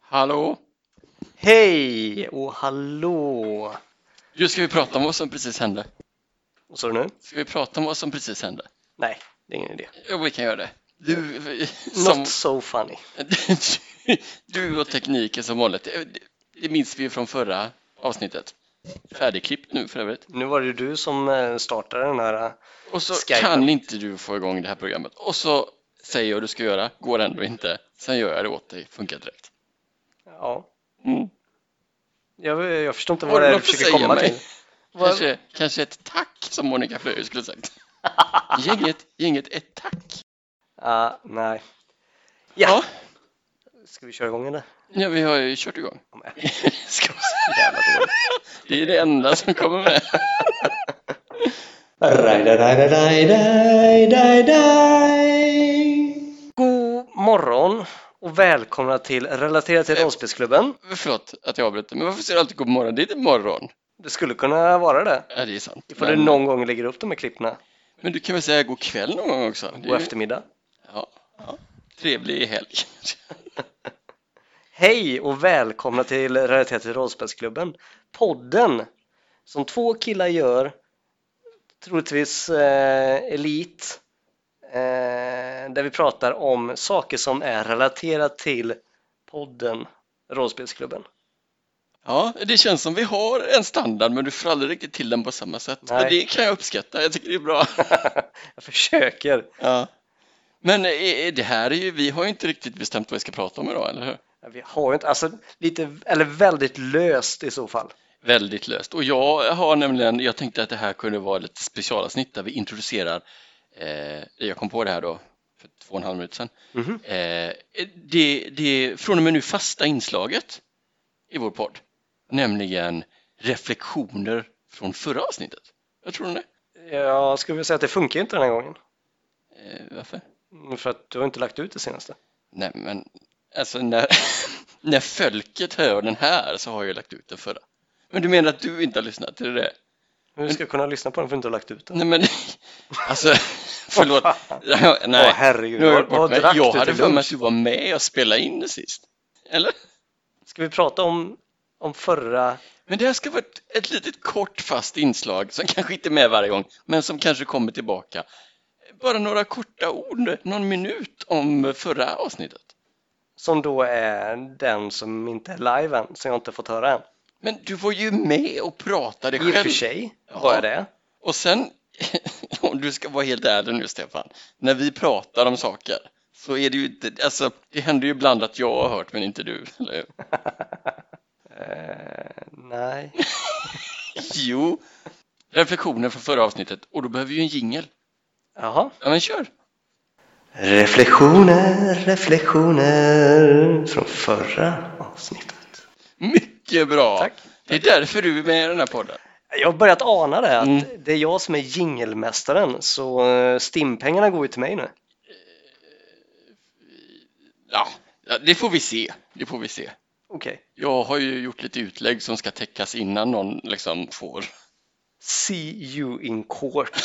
Hallå! Hej och hallå! Nu ska vi prata om vad som precis hände. Vad sa du nu? Ska vi prata om vad som precis hände? Nej, det är ingen idé. Jo, vi kan göra det. Du, som, Not so funny. du och tekniken som vanligt. Eh, Det- Det minns vi ju från förra avsnittet. Färdigklippt nu för övrigt. Nu var det ju du som eh, startade den här. eh, Och så Skype. kan inte du få igång det här programmet. Och så säger jag du ska göra, går ändå inte. Sen gör jag det åt dig, funkar direkt. Ja, Mm. jag, jag förstår inte Har vad du det är du något att försöker säga komma mig? till. Vad- Kanske, kanske ett tack som Monica Flöjer skulle sagt. Gänget, gänget, ett tack. Ah, nej. Ja. Ja. Ska vi köra igång eller? Ja, vi har ju kört igång. Ja, men. Ska vi se. Jävla dåligt. Det är det enda som kommer med. God morgon och välkomna till Relaterat till rollspelsklubben. Förlåt att jag avbryter, men varför säger du alltid god morgon? Det är inte morgon. Det skulle kunna vara det. Ja, det är sant. Ifall du Men- någon gång lägger upp de här klippen. Men du kan väl säga god kväll någon gång också? Det är God ju- eftermiddag. Ja, ja. Trevlig helg. Hej och välkomna till Relaterat till rollspelsklubben. Podden som två killar gör, troligtvis eh, elit, eh, där vi pratar om saker som är relaterat till podden Rollspelsklubben. Ja, det känns som vi har en standard, men du får aldrig riktigt till den på samma sätt. Men Nej. det kan jag uppskatta. Jag tycker det är bra. Jag försöker. Ja. Men eh, eh, det här är ju, vi har ju inte riktigt bestämt vad vi ska prata om idag, eller hur? Vi har ju inte, alltså lite, eller väldigt löst i så fall. Väldigt löst. Och jag har nämligen, jag tänkte att det här kunde vara lite specialavsnitt där vi introducerar, eh, jag kom på det här då för två och en halv minut sedan, Mhm. eh, det, det från och med nu fasta inslaget i vår podd, nämligen reflektioner från förra avsnittet. Vad tror du om det? Jag skulle vilja säga att det funkar ju inte den här gången, Eh, varför? för att du har inte lagt ut det senaste. Nej men, alltså när, när folket hör den här så har jag lagt ut den förra. Men du menar att du inte har lyssnat, är det det? Hur ska jag kunna lyssna på den för att du inte har lagt ut den? Nej men, alltså, förlåt. Nej, Åh nej. herregud, nu har jag gjort vad, bort vad mig. drack Jag du hade till för mig lunch? att du var med och spelade in det sist. Eller? Ska vi prata om, om förra... Men det här ska vara ett, ett litet kort fast inslag som kanske inte är med varje gång, men som kanske kommer tillbaka. Bara några korta ord, någon minut om förra avsnittet. Som då är den som inte är live än, som jag inte fått höra än. Men du var ju med och pratade I och för själv. sig Ja. var jag det. Och sen, om du ska vara helt ärlig nu Stefan, när vi pratar om saker så är det ju inte, alltså det händer ju ibland att jag har hört men inte du, eller hur? Eh, nej. Jo, reflektioner från förra avsnittet och då behöver vi ju en jingel. Jaha. Ja men kör! Reflektioner, reflektioner från förra avsnittet. Mycket bra! Tack. Det är därför du är med i den här podden. Jag har börjat ana det, att Mm. det är jag som är jingelmästaren, så eh, stimpengarna går ju till mig nu. Ja, ja, det får vi se. Det får vi se. Okej. Jag har ju gjort lite utlägg som ska täckas innan någon liksom får. See you in court.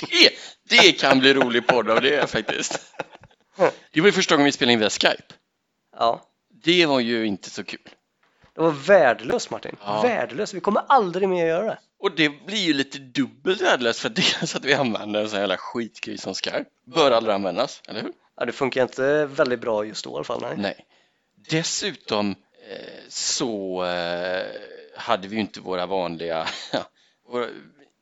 Det, det kan bli rolig podd av det faktiskt. Det var ju första gången vi spelade in via Skype. Ja. Det var ju inte så kul. Det var värdelöst Martin. Ja. Värdelöst. Vi kommer aldrig mer göra det. Och det blir ju lite dubbelt värdelöst för dels att vi använder en sån här jävla skitgrej som Skype. Bör aldrig användas, eller hur? Ja, det funkar inte väldigt bra just då i alla fall. Nej. Nej. Dessutom eh, så eh, hade vi ju inte våra vanliga, våra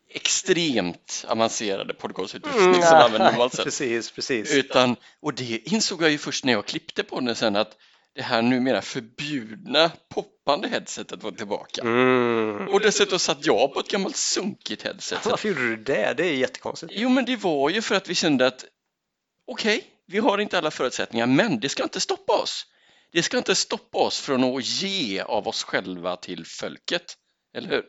extremt avancerade podcastsutrustning Mm, som nej, vi använder normalt sett. Precis, precis. Utan, och det insåg jag ju först när jag klippte på den sen att det här numera förbjudna poppande headsetet var tillbaka. Mm. Och dessutom satt jag på ett gammalt sunkigt headset. Så Varför gjorde du det? Det är jättekonstigt. Jo, men det var ju för att vi kände att okej, vi har inte alla förutsättningar, men det ska inte stoppa oss. Det ska inte stoppa oss från att ge av oss själva till folket, eller hur?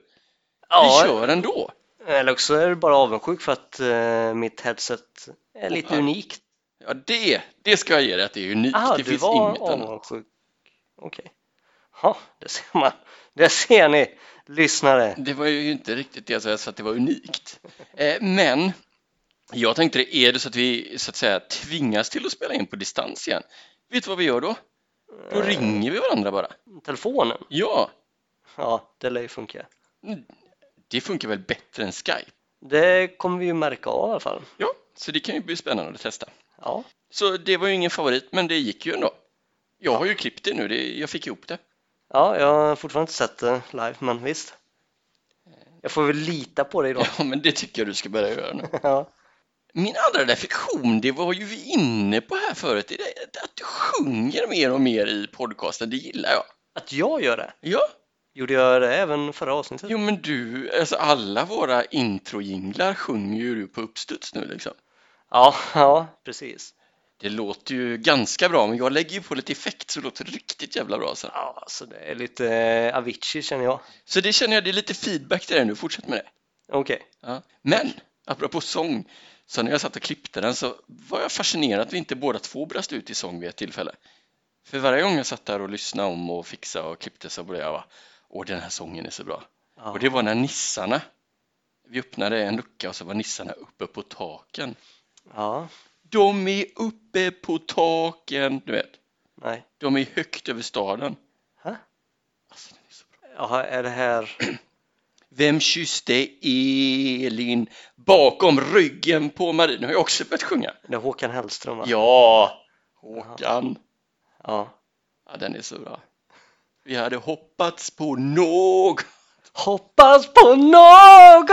Vi kör ändå. Eller också är du bara avundsjuk för att eh, mitt headset är lite här. unikt. Ja, det, det ska jag ge dig att det är unikt. Ah, det du finns var inget annat. avundsjuk. Okej. Ja, det ser man. Det ser ni, lyssnare. Det var ju inte riktigt det jag sa, så att det var unikt. Eh, men jag tänkte det, är det så att vi så att säga tvingas till att spela in på distans igen? Vet du vad vi gör då? Då Mm. ringer vi varandra bara. Eh, Telefonen? Ja, Ja, det lär ju funka. det funkar väl bättre än Skype? Det kommer vi ju märka av i alla fall. Ja, så det kan ju bli spännande att testa. Ja, Så det var ju ingen favorit, men det gick ju ändå. Jag har ju klippt det nu, det, jag fick ihop det. ja jag har fortfarande inte sett det live, men visst. Jag får väl lita på dig då. Ja, men det tycker jag du ska börja göra nu. Ja. Min andra reflektion, det var ju vi inne på här förut, det är det att du sjunger mer och mer i podcasten, det gillar jag. Att jag gör det? Ja, Gjorde jag det även förra avsnittet? jo men du, alltså alla våra introjinglar sjunger ju du på uppstuds nu liksom. Ja, ja, precis. Det låter ju ganska bra, men jag lägger ju på lite effekt så det låter riktigt jävla bra sen. Ja, så det är lite eh, Avicii känner jag. Så det känner jag, det är lite feedback till dig nu, fortsätt med det. Okej. Ja. Men, apropå sång, så när jag satt och klippte den så var jag fascinerad att vi inte båda två brast ut i sång vid ett tillfälle. För varje gång jag satt där och lyssnade om och fixade och klippte så blev jag bara, åh den här sången är så bra. Ja. Och det var när nissarna, vi öppnade en lucka och så var nissarna uppe på taken. Ja, De är uppe på taken, du vet. nej. De är högt över staden. Hä? Alltså, den är så bra. Ja, är det här... Vem kysste Elin bakom ryggen på Marie? Nu har jag också börjat sjunga. Det är Håkan Hellström va? Ja, Håkan. ja. Ja, den är så bra. Vi hade hoppats på något. Hoppas på någon!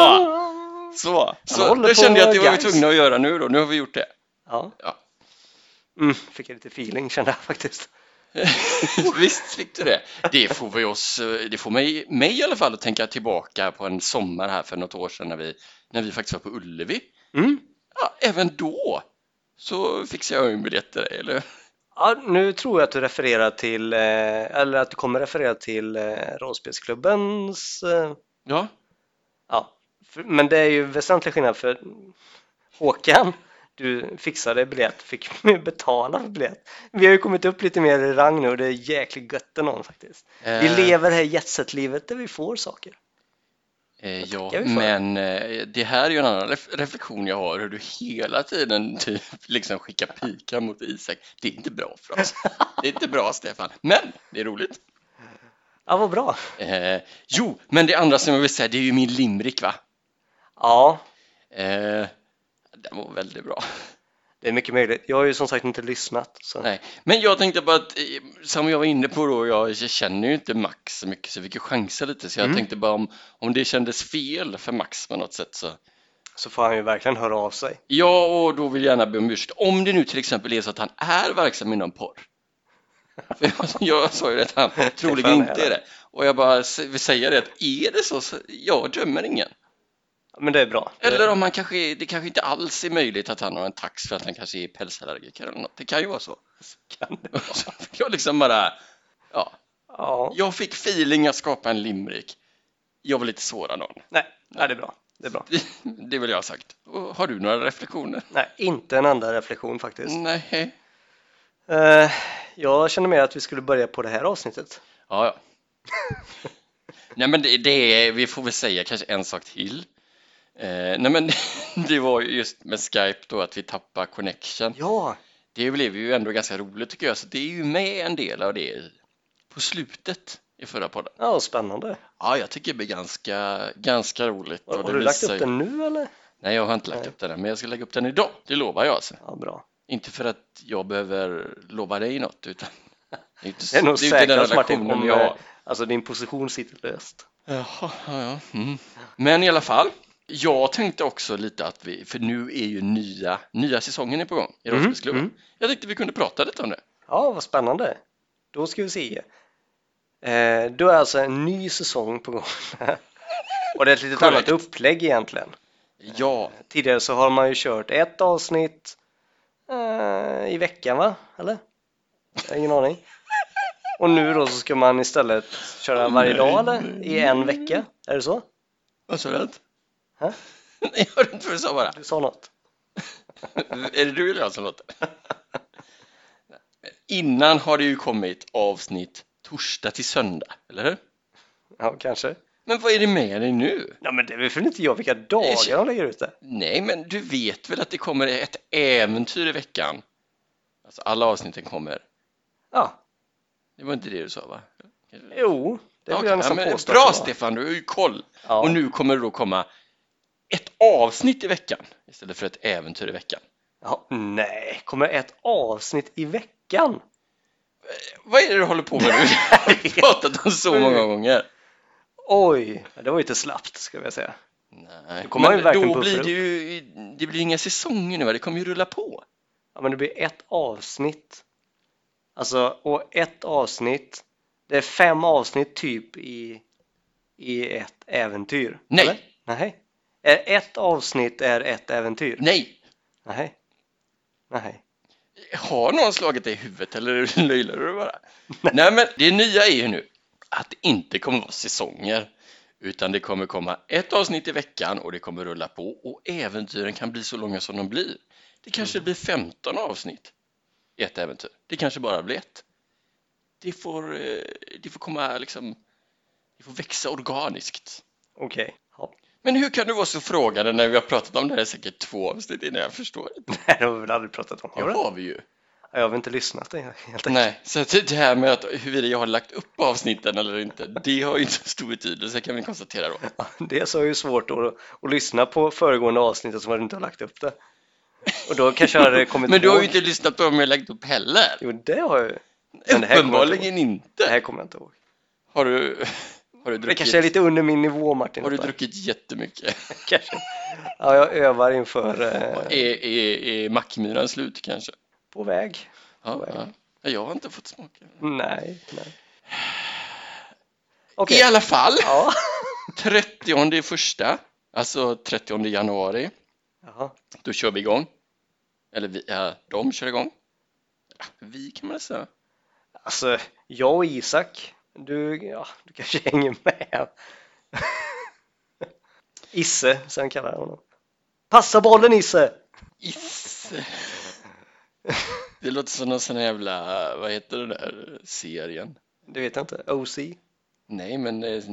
Ja! Så, så håller det kände jag att på, det var vi guys. tvungna att göra nu då. Nu har vi gjort det. Ja. Ja. Mm, fick jag lite feeling kände jag faktiskt. Visst fick du det? Det får, vi oss, eh, det får mig, mig i alla fall att tänka tillbaka på en sommar här för något år sedan när vi, när vi faktiskt var på Ullevi. Mm. Ja, även då så fixade jag ju en biljett till dig, eller hur? Ja, nu tror jag att du refererar till, eh, eller att du kommer referera till eh, rollspelsklubbens, eh, Ja, ja, för, men det är ju väsentlig skillnad för Håkan, du fixade biljett, fick betala för biljett. Vi har ju kommit upp lite mer i rang nu och det är jäkligt gött ändå faktiskt. Vi Eh. lever det här jetset-livet där vi får saker. Eh, ja, tackar vi för. men eh, det här är ju en annan ref- reflektion jag har, hur du hela tiden typ liksom skickar pika mot Isak. Det är inte bra för oss. Det är inte bra, Stefan. Men det är roligt. Ja, vad bra. Eh, jo, men det andra som jag vill säga, det är ju min limrik, va? Ja, Eh, den var väldigt bra. det är mycket möjligt. Jag har ju som sagt inte lyssnat. Så. Nej, men jag tänkte bara att, eh, som jag var inne på då, jag känner ju inte Max så mycket, så vi kan chansa lite. Så jag Mm. tänkte bara om, om det kändes fel för Max på något sätt så så får han ju verkligen höra av sig. Ja, och då vill jag gärna be om ursäkt. Om det nu till exempel är så att han är verksam inom porr. För jag, jag sa ju det att han troligen fan är inte är det. Och jag bara s- vill säga det att är det så, så jag dömer ingen. Ja, Men det är bra. Eller om han kanske, är- det kanske inte alls är möjligt att han har en tax för att han kanske är pälsallergiker eller något. Det kan ju vara så. kan det Så fick Jag liksom bara, ja. Ja, Jag fick feeling att skapa en limrik. Jag vill inte såra någon. nej, nej, det är bra. Det är bra. Det vill jag ha sagt. Och har du några reflektioner? Nej, inte en enda reflektion faktiskt. Nej. Mm. Eh, jag känner mer att vi skulle börja på det här avsnittet. Ja, ja. Nej, men det, det är, vi får väl säga kanske en sak till. Eh, nej, men det var ju just med Skype då att vi tappade connection. Ja, Det blev ju ändå ganska roligt tycker jag, så det är ju med en del av det i- på slutet i förra podden. ja spännande. Ja, jag tycker det blir ganska, ganska roligt. Har, och har det du lagt visar upp ju- den nu eller? Nej, jag har inte lagt Nej. upp den än, men jag ska lägga upp den idag. Det lovar jag alltså. Ja, bra. Inte för att jag behöver lova dig något, utan det är, inte, Det är nog det är inte den säkrast Martin relationen om vi har. eh, alltså, din position sitter löst. Jaha, ja, ja. Mm. Men i alla fall, jag tänkte också lite att vi, för nu är ju nya, nya säsongen är på gång i Mm, Rollspelsklubben. mm. Jag tänkte vi kunde prata lite om det. Ja, vad spännande. Då ska vi se. Eh, då är alltså en ny säsong på gång. Och det är ett litet Korrekt. annat upplägg egentligen. Ja, Tidigare så har man ju kört ett avsnitt eh, i veckan va? Eller? Jag har ingen aning. Och nu då så ska man istället köra varje dag eller? I en vecka? Är det så? vad sa du? Hä? Nej, jag hörde inte vad du sa bara. Du sa något? är det du eller jag som låter? Innan har det ju kommit avsnitt torsdag till söndag, eller hur? Ja, kanske. Men vad är det med dig nu? Nej men det vet väl inte jag vilka dagar de lägger ut det? Nej, men du vet väl att det kommer ett äventyr i veckan? Alltså alla avsnitten kommer Ja, Det var inte det du sa va? jo, det vill Okej, jag nästan men påstå. Bra att det var. Stefan, du har ju koll. Ja. Och nu kommer det då komma ett avsnitt i veckan istället för ett äventyr i veckan. Ja, nej, kommer ett avsnitt i veckan? Vad är det du håller på med nu? Jag har pratat om så många gånger. Oj, ja, det var ju inte slappt ska jag säga. Nej, kommer man ju men verkligen då buffra blir upp. det ju det blir ju inga säsonger nu, va? det kommer ju rulla på. Ja, men det blir ett avsnitt. Alltså, och ett avsnitt. Det är fem avsnitt typ i, i ett äventyr. Nej. eller? Nej. Är Ett avsnitt är ett äventyr. Nej! Nej. Nej. Har någon slagit dig i huvudet eller löjlar du bara? Nej, men det nya är ju nu att det inte kommer vara säsonger utan det kommer komma ett avsnitt i veckan och det kommer rulla på och äventyren kan bli så långa som de blir. Det kanske blir 15 avsnitt i ett äventyr. Det kanske bara blir ett. Det får, eh, det får komma liksom, det får växa organiskt. Okej. Ja. Men hur kan du vara så frågande när vi har pratat om det här i säkert två avsnitt innan jag förstår det? Nej, det har vi väl aldrig pratat om? Har Det vi det? har vi ju. Ja, Jag har inte lyssnat helt enkelt. Nej, så att det här med att huruvida jag har lagt upp avsnitten eller inte, det har ju inte så stor betydelse kan vi konstatera då. Ja, Dels har jag ju svårt att, att lyssna på föregående avsnitt som jag inte har lagt upp det. Och då kanske jag hade kommit Men du har ihåg- ju inte lyssnat på dem jag har lagt upp heller. Jo, det har jag ju. Men det här kommer jag inte ihåg. Uppenbarligen Det här inte. kommer jag inte ihåg. Har du, har du Det druckit, kanske är lite under min nivå Martin. har du detta. druckit jättemycket? kanske. Ja, jag övar inför eh, Är, är, är mackmyran slut kanske? På väg? Ja, ja. Ja, Jag har inte fått smaka. Nej. nej. Okej. I alla fall, Ja. 30 i första, alltså 30 januari, Jaha. då kör vi igång. Eller vi, ja, de kör igång. Ja, Vi kan man säga. Alltså, jag och Isak, du, ja, du kanske hänger med. Isse, sen kallar jag honom. Passa bollen Isse! Is. Det låter som någon sån här jävla, vad heter den där serien? Det vet jag inte. OC? Nej men... eh,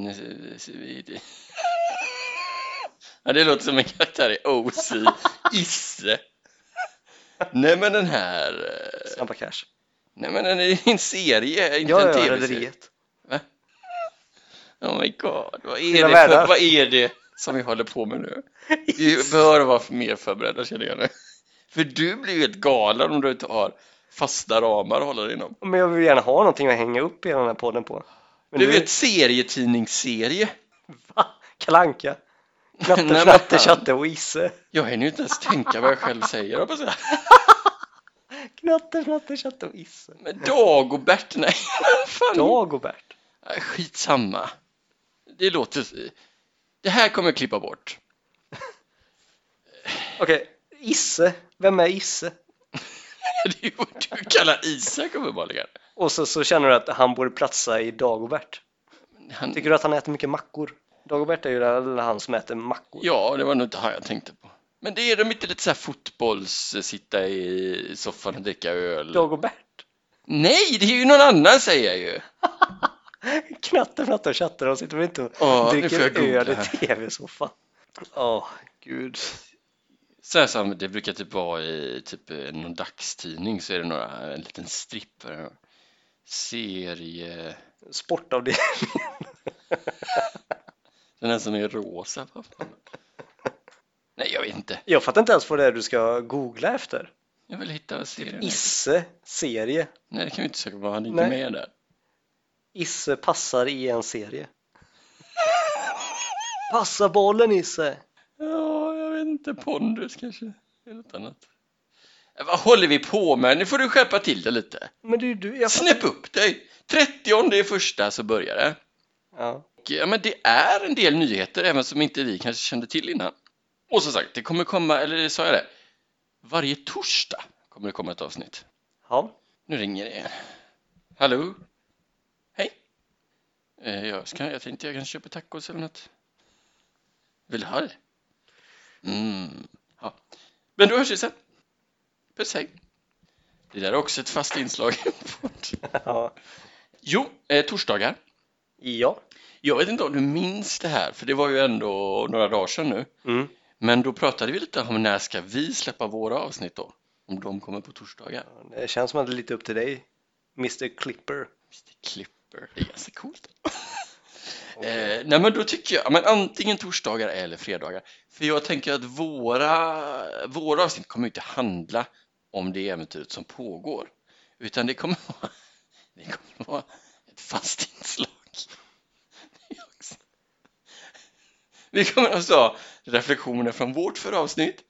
Ja, det låter som en karaktär i OC, Isse. Nej men den här, eh, Snabba cash. nej men den är en serie, inte Jag en är tv-serie. Rederiet. Oh my god, vad är, Lilla det för, världar. vad är det som vi håller på med nu? Vi bör vara mer förberedda känner jag nu. För du blir ju helt galen om du inte har fasta ramar att hålla dig inom. Men jag vill gärna ha någonting att hänga upp hela den här podden på. Men du vet serietidningsserie? Va? Kalanka. Knatte, Nej, men Fnatte, fan. Tjatte och Isse. Jag hinner ju inte ens tänka vad jag själv säger hoppas jag. Knatte, Fnatte, Tjatte och Isse. Men Dagobert, nej. Fan. Dagobert. Nej, Skitsamma. Det låter... Det här kommer jag klippa bort. Okej, Isse. Vem är Isse? Det är ju vad du kallar Isak uppenbarligen. Och så, så känner du att han borde platsa i Dagobert. Han... Tycker du att han äter mycket mackor? Dagobert är ju den- han som äter mackor. Ja, det var nog inte han jag tänkte på. Men det är de inte lite så här fotbolls... Sitta i soffan och dricka öl? Dagobert? Nej, det är ju någon annan säger jag ju. Knatte, fnatte och tjatte, de sitter väl inte och Ja, nu får jag dricker googla öl i här. tv-soffan? Åh, gud. Så här som det brukar typ vara i typ eh, någon dagstidning så är det några, eh, en liten stripp här. Serie... Sportavdelningen. Den här som är rosa, vad fan? Nej, jag vet inte. Jag fattar inte ens vad det är du ska googla efter. Jag vill hitta serien. Isse, serie. Nej, det kan vi inte söka på, han är inte Nej. med där. Isse passar i en serie. Passa bollen Isse! Ja, jag vet inte. Pondus kanske? Eller något annat. Eh, Vad håller vi på med? Nu får du skärpa till dig lite. Men du, du, jag fattar- Snäpp upp dig! 30 det är första så börjar det. Ja. Och, ja, men det är en del nyheter även som inte vi kanske kände till innan. Och som sagt, det kommer komma, eller sa jag det? Varje torsdag kommer det komma ett avsnitt. ja. Nu ringer det igen. Hallå? Hej? Eh, jag, ska, jag tänkte jag kan köpa tacos eller något. Vill du ha det? Mm. Ja. Men då hörs vi sen. Puss hej. Det där är också ett fast inslag. Ja. jo, eh, torsdagar. Ja. Jag vet inte om du minns det här, för det var ju ändå några dagar sedan nu. Mm. Men då pratade vi lite om när ska vi släppa våra avsnitt då? Om de kommer på torsdagar. Det känns som att det är lite upp till dig. Mr Clipper. Mr Clipper, det är ganska coolt. Eh, nej men då tycker jag, men antingen torsdagar eller fredagar. För jag tänker att våra, våra avsnitt kommer ju inte handla om det äventyret som pågår. Utan det kommer vara, det kommer vara ett fast inslag. Det är också- Vi kommer alltså ha reflektioner från vårt förra avsnitt,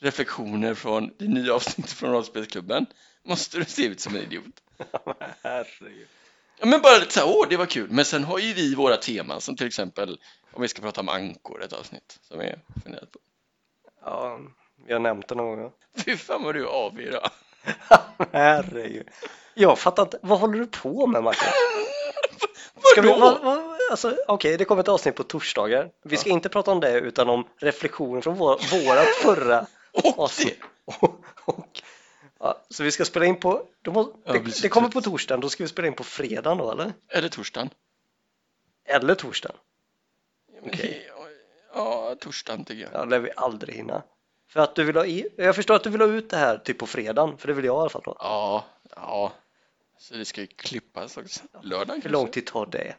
reflektioner från det nya avsnittet från Rollspelsklubben. Måste du se ut som en idiot? Herregud. Ja, men bara lite så här, åh det var kul. Men sen har ju vi våra teman som till exempel om vi ska prata om ankor ett avsnitt som är funderat på. Ja, vi har nämnt det någon gång. Fy fan vad du är avig idag. Herregud. Jag fattar inte, vad håller du på med Mackan? Ska vi, Vadå? vad, vad, alltså, Okej, det kommer ett avsnitt på torsdagar. Vi ska inte prata om det utan om reflektioner från vår, vårat förra Och det? avsnitt. Och, och, ja, så vi ska spela in på, då må, Ja, det, precis. det kommer på torsdagen, då ska vi spela in på fredagen då eller? Eller torsdagen? Eller torsdagen, Okej. Ja, torsdagen tycker jag. ja, det lär vi aldrig hinna. För att du vill ha i, jag förstår att du vill ha ut det här typ på fredagen, för det vill jag i alla fall. Då. Ja, ja. Så det ska ju klippas också. Lördagen Hur kanske? lång tid tar det?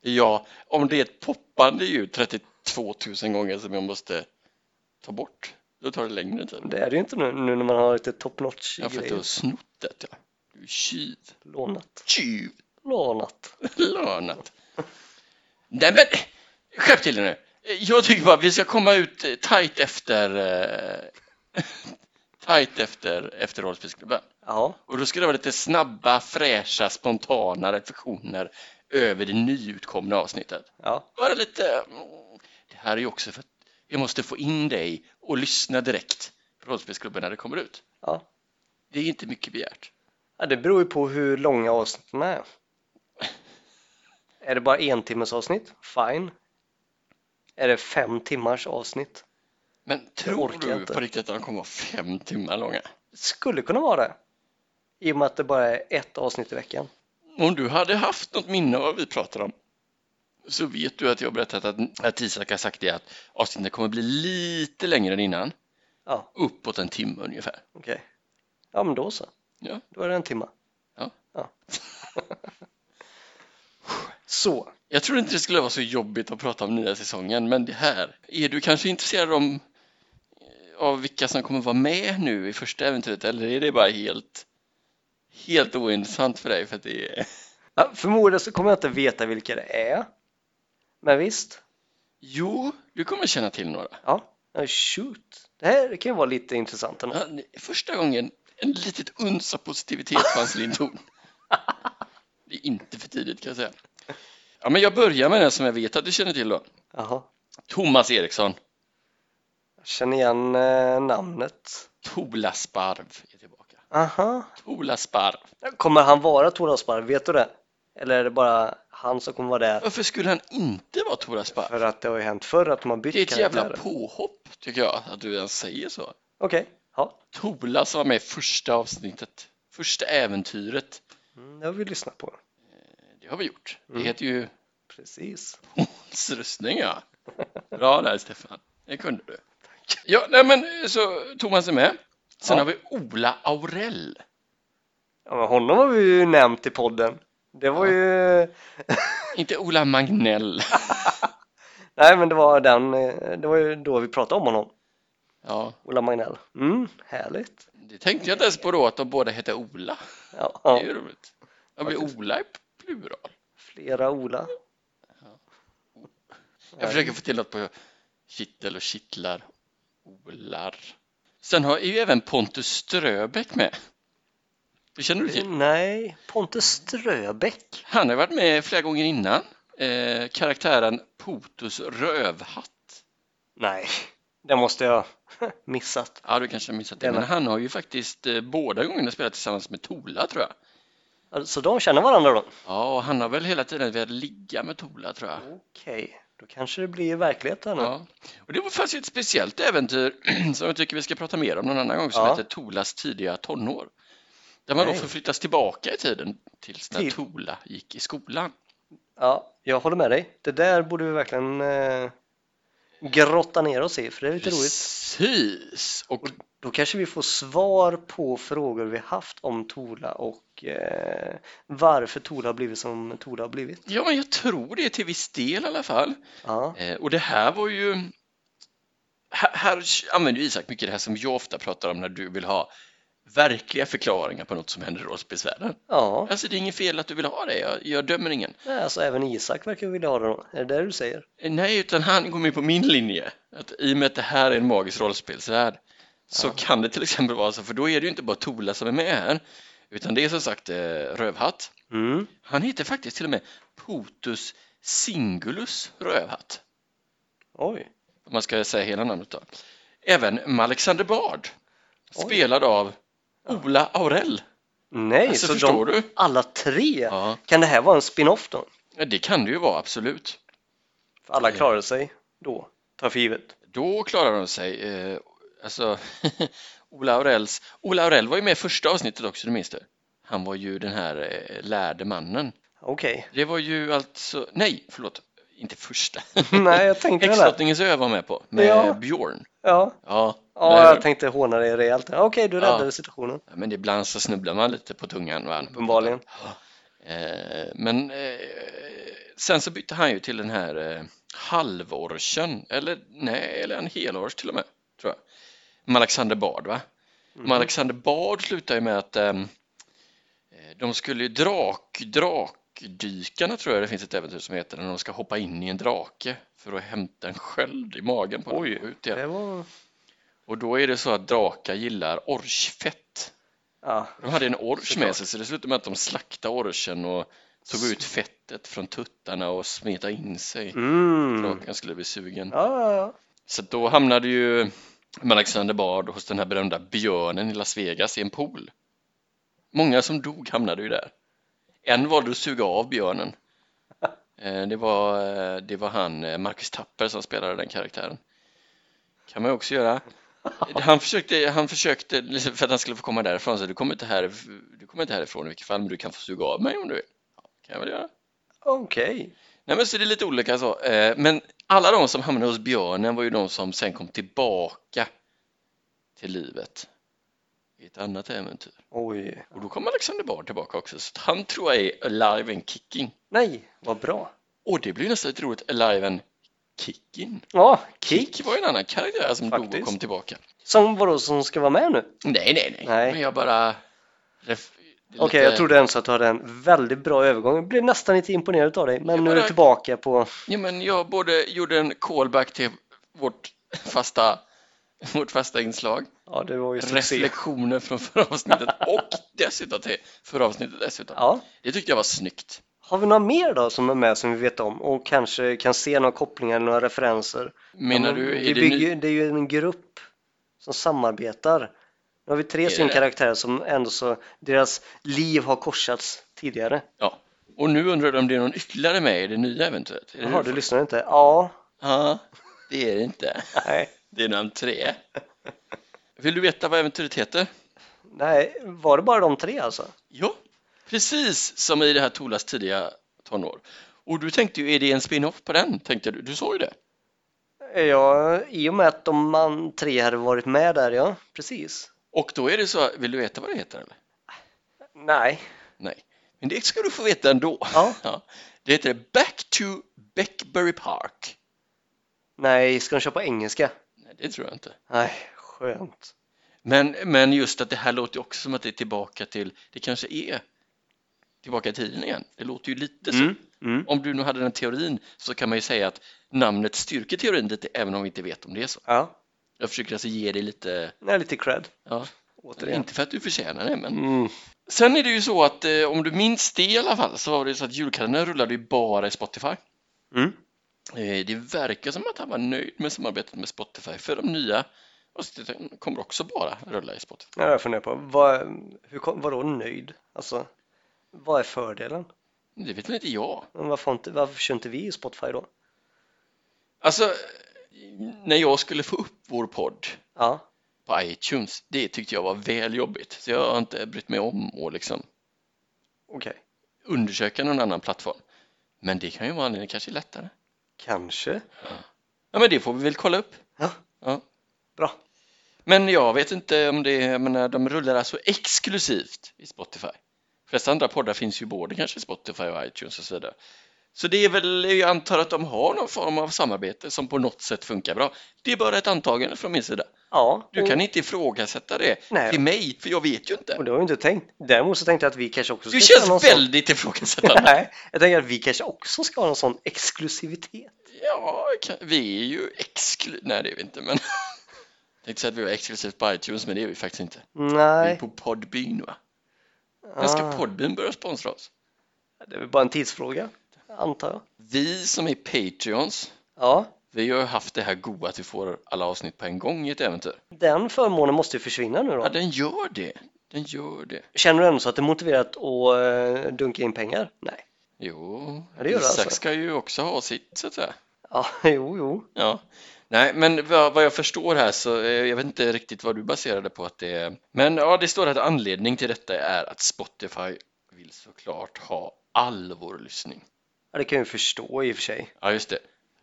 Ja, om det är ett poppande ljud 32 000 gånger som jag måste ta bort, då tar det längre tid. Det är det ju inte nu, nu när man har lite top notch Ja, för att du har snott det ja. Du är tjuv. Lånat. Tjuv! Lånat. Lönat. Nej men, skärp till dig nu. Jag tycker bara vi ska komma ut eh, tajt efter eh, tajt efter, efter rollspelsklubben. Ja, Och då ska det vara lite snabba, fräscha, spontana reflektioner över det nyutkomna avsnittet. ja, Bara lite, mm, det här är ju också för att jag måste få in dig och lyssna direkt på rollspelsklubben när det kommer ut. ja. Det är inte mycket begärt. Ja, det beror ju på hur långa avsnitten är. Är det bara en timmes avsnitt? Fine. Är det fem timmars avsnitt? Men tror orkar du inte. på riktigt att de kommer vara fem timmar långa? Skulle kunna vara det. I och med att det bara är ett avsnitt i veckan. Om du hade haft något minne av vad vi pratar om så vet du att jag har berättat att, att Isak har sagt det att avsnitten kommer bli lite längre än innan. Ja. Uppåt en timme ungefär. Okej. Ja, men då så. Ja. Då är det en timma. Ja. Så. Jag tror inte det skulle vara så jobbigt att prata om nya säsongen, men det här. Är du kanske intresserad om, eh, av vilka som kommer vara med nu i första äventyret eller är det bara helt, helt ointressant för dig? För att det är... Ja, förmodligen så kommer jag inte veta vilka det är. Men visst. Jo, du kommer känna till några. Ja. Ja, shoot. Det här kan ju vara lite intressant ändå. Ja, det är Första gången en litet uns av positivitet fanns i din ton. Det är inte för tidigt kan jag säga. Ja, men jag börjar med den som jag vet att du känner till då. Jaha. Thomas Eriksson. Jag känner igen eh, namnet. Tola Sparv är tillbaka. Aha. Tola Sparv. Kommer han vara Tora Sparv? Vet du det? Eller är det bara han som kommer vara där? Varför skulle han inte vara Tola Sparv? För att det har ju hänt förr att man bytt Det är ett jävla karaktärer. påhopp tycker jag att du ens säger så. Okej, ja. Tola som var med i första avsnittet, första äventyret. Mm, det har vi lyssnat på. Det har vi gjort. Det Mm. heter ju Precis. Måns röstning ja. Bra där Stefan, det kunde du. Ja, nej men så Thomas är med. Sen Ja. har vi Ola Aurell. Ja, men honom har vi ju nämnt i podden. Det var Ja. ju... Inte Ola Magnell. Nej, men det var den... eh, Det var ju då vi pratade om honom. Ja, Ola Magnell. Mm, härligt. det tänkte jag inte ens på då att de båda heter Ola. Ja, Det ja. är ju roligt. Ja, men Faktiskt. Ola är plural. Flera Ola. Jag försöker få till något på kittel och kittlar. Olar. Sen har ju även Pontus Ströbeck med. Det känner du Mm. till? Nej, Pontus Ströbeck. Han har varit med flera gånger innan. Eh, karaktären Potus Rövhatt. Nej, det måste jag missat. Ja, du kanske har missat det. Denna. Men han har ju faktiskt eh, båda gångerna spelat tillsammans med Tola tror jag. Så de känner varandra då? Ja, och han har väl hela tiden velat ligga med Tola tror jag. Okej, då kanske det blir verklighet här nu. Ja. Och det var faktiskt ett speciellt äventyr som jag tycker vi ska prata mer om någon annan gång som Ja. heter Tolas tidiga tonår. Där man Nej. då förflyttas tillbaka i tiden tills när Till- Tola gick i skolan. Ja, jag håller med dig. Det där borde vi verkligen eh, grotta ner oss i, för det är lite roligt. Precis! Och Då kanske vi får svar på frågor vi haft om Tola och eh, varför Tola har blivit som Tola har blivit. ja, men jag tror det till viss del i alla fall. Ja, Eh, och det här var ju... Här, här använder ju Isak mycket det här som jag ofta pratar om när du vill ha verkliga förklaringar på något som händer i rollspelsvärlden. ja. Alltså det är inget fel att du vill ha det, jag, jag dömer ingen. Nej, alltså även Isak verkar vilja ha det då. Är det det du säger? Eh, Nej, utan han går med på min linje. Att I och med att det här är en magisk rollspelsvärld så Ja. kan det till exempel vara så, för då är det ju inte bara Tola som är med här, utan det är som sagt eh, Rövhatt. Mm. Han heter faktiskt till och med Potus Singulus Rövhatt. Oj. om man ska säga hela namnet då. Även Alexander Bard, Oj. spelad av Ola Aurell. Nej, Alltså, så förstår de, du? alla tre? Ja. Kan det här vara en spin-off då? Ja, det kan det ju vara, absolut. För alla Ja. klarade sig då, tar för givet. Då klarar de sig. Eh, alltså, Ola Aurells... Ola Aurell var ju med i första avsnittet också, du minns det? Han var ju den här eh, lärde mannen. Okej. Det var ju alltså... Nej, förlåt. Inte första. Nej, jag tänkte väl det. Häxdrottningens ö var med på, med Ja. Björn. Ja, Ja, ja där- jag tänkte håna dig rejält. Okej, du Ja. räddade situationen. Ja, men ibland så snubblar man lite på tungan. Va? Uppenbarligen. Eh, men eh, sen så bytte han ju till den här eh, halvorchen, eller nej, eller en helors till och med, tror jag. Med Alexander Bard, va? Mhm. Med Alexander Bard slutade ju med att ehm, eh, de skulle ju drak, drakdykarna tror jag det finns ett äventyr som heter, när de ska hoppa in i en drake för att hämta en sköld i magen på Oj. dem och ut igen. Mm. Det var... Och då är det så att drakar gillar orchfett. Ja, De hade en orch med Såklart. sig så det slutade med att de slaktade orchen och tog ut fettet från tuttarna och smetade in sig. mm. Draken skulle bli sugen. ja, ja, ja. Så då hamnade ju Alexander Bard hos den här berömda björnen i Las Vegas i en pool. Många som dog hamnade ju där. En valde att suga av björnen. Eh, Det var, eh, det var han eh, Marcus Tapper som spelade den karaktären. Kan man ju också göra. Han försökte, han försökte liksom, för att han skulle få komma därifrån, så du kommer inte, här, du kommer inte härifrån i vilket fall, men du kan få suga av mig om du vill. Ja, kan jag väl göra. Okej. Nej men så det är lite olika så. Eh, Men alla de som hamnade hos björnen var ju de som sen kom tillbaka till livet i ett annat äventyr. Oj. Och då kom Alexander Bard tillbaka också, så att han tror jag är alive and kicking. Nej, vad bra. Och det blir ju nästan lite roligt, alive and kicking. Ja, Kik. Kick var ju en annan karaktär som dog och Faktiskt. kom tillbaka. Som vadå, som ska vara med nu? Nej, nej, nej, Nej. men jag bara... Ref... det är Okej, lite- jag trodde ens att du hade en väldigt bra övergång. Jag blev nästan lite imponerad av dig, Ja, men nu men är du det- tillbaka på... Ja, men jag både gjorde en callback till vårt fasta, vårt fasta inslag, Ja, det var ju succé. reflektioner från förra avsnittet och dessutom till förra avsnittet dessutom. Ja. Det tyckte jag var snyggt. Har vi några mer då som är med som vi vet om och kanske kan se några kopplingar eller några referenser? Menar Ja, men du, vi är det, bygger, ny... ju- det är ju en grupp som samarbetar. Nu har vi Är tre det stycken det? karaktärer som ändå så, deras liv har korsats tidigare. ja. Och nu undrar du om det är någon ytterligare med i det nya eventuellt? Är det Jaha, det du du- lyssnar inte? Ja, Ja, det är det inte. nej, Det är namn tre. Vill du veta vad äventyret heter? nej, var det bara de tre alltså? Ja, precis som i det här Tolas tidiga tonår. Och du tänkte ju, är det en spin-off på den? Tänkte du, du sa ju det. Ja, i och med att de man tre hade varit med där, ja, precis. Och då är det så, vill du veta vad det heter eller? Nej, Nej, men det ska du få veta ändå. Ja. Det heter Back to Beckbury Park. nej, ska de köpa engelska? Nej, det tror jag inte. Nej, skönt. Men, men just att det här låter ju också som att det är tillbaka till, det kanske är tillbaka i tiden igen. Det låter ju lite så. Mm, mm. Om du nu hade den teorin så kan man ju säga att namnet styrker teorin lite även om vi inte vet om det är så. Ja, Jag försöker alltså ge dig lite, nej, lite cred, ja, återigen. inte för att du förtjänar det men. Mm. Sen är det ju så att eh, om du minns det i alla fall så var det ju så att julkalendern rullade ju bara i Spotify. Mm. Eh, Det verkar som att han var nöjd med samarbetet med Spotify för de nya avsnitten kommer också bara rulla i Spotify. Ja, jag funderar på, vad, hur, kom- vadå nöjd? Alltså, vad är fördelen? Det vet väl inte jag. Men varför, inte, varför kör inte vi i Spotify då? Alltså, när jag skulle få upp vår podd Ja, på iTunes, det tyckte jag var väl jobbigt. Så jag har inte brytt mig om att liksom okej. undersöka någon annan plattform. Men det kan ju vara anledningen, kanske är lättare. Kanske. Ja, men det får vi väl kolla upp. Ja. Ja. Bra. Men jag vet inte om det, jag menar, de rullar alltså exklusivt i Spotify. De flesta andra poddar finns ju både kanske Spotify och iTunes och så vidare. Så det är väl, jag antar att de har någon form av samarbete som på något sätt funkar bra. Det är bara ett antagande från min sida. Ja, Du och- kan inte ifrågasätta det Mm. Nej. till mig, för jag vet ju Och inte. det har jag inte tänkt. Däremot så tänkte jag att vi kanske också Du ska ha någon känns väldigt sån... ifrågasättande. Nej, jag tänker att vi kanske också ska ha någon sån exklusivitet. Ja, kan- vi är ju exklu... Nej, det är vi inte, men... Jag tänkte säga att vi var exklusivt på iTunes, men det är vi faktiskt inte. Vi är Nej. på Podbean, va? När ska Ah, Podbean börja sponsra oss? Det är väl bara en tidsfråga, antar jag. Vi som är Patreons, Ja, vi har ju haft det här goa att vi får alla avsnitt på en gång i ett äventyr. den förmånen måste ju försvinna nu Ja, då. den gör det. Den gör det. Känner du ändå så att det är motiverat att eh, dunka in pengar? Nej. Jo, Ja, det gör det Isak alltså. ska ju också ha sitt, så att säga. Ja, jo, jo. Ja. Nej, men vad, vad jag förstår här så eh, jag vet inte riktigt vad du baserade på att det är. Men ja, det står att anledning till detta är att Spotify vill såklart ha all vår lyssning. Ja, det kan jag ju förstå i och för sig. Ja, just det.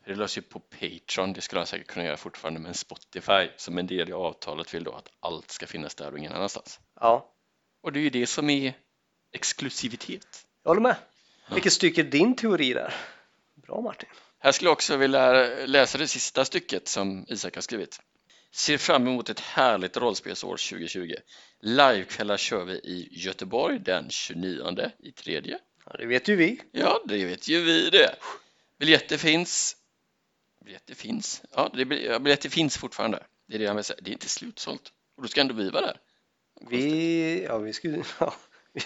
Det löser ju på Patreon. Det skulle han säkert kunna göra fortfarande, men Spotify som en del i avtalet vill då att allt ska finnas där och ingen annanstans. Ja, Och det är ju det som är exklusivitet. jag håller med. Vilket stycke är din teori där? Bra Martin. Här skulle jag också vilja läsa det sista stycket som Isak har skrivit. Ser fram emot ett härligt rollspelsår 2020. Livekvällar kör vi i Göteborg den 29 i tredje. Ja, det vet ju vi. Ja, det vet ju vi det. Biljetter finns. Biljetter finns. Ja, det, blir- ja, biljetter finns fortfarande. Det är det jag vill säga. Det är inte slutsålt. Och då ska ändå vi vara där. Vi, ja, vi skulle, ja, vi,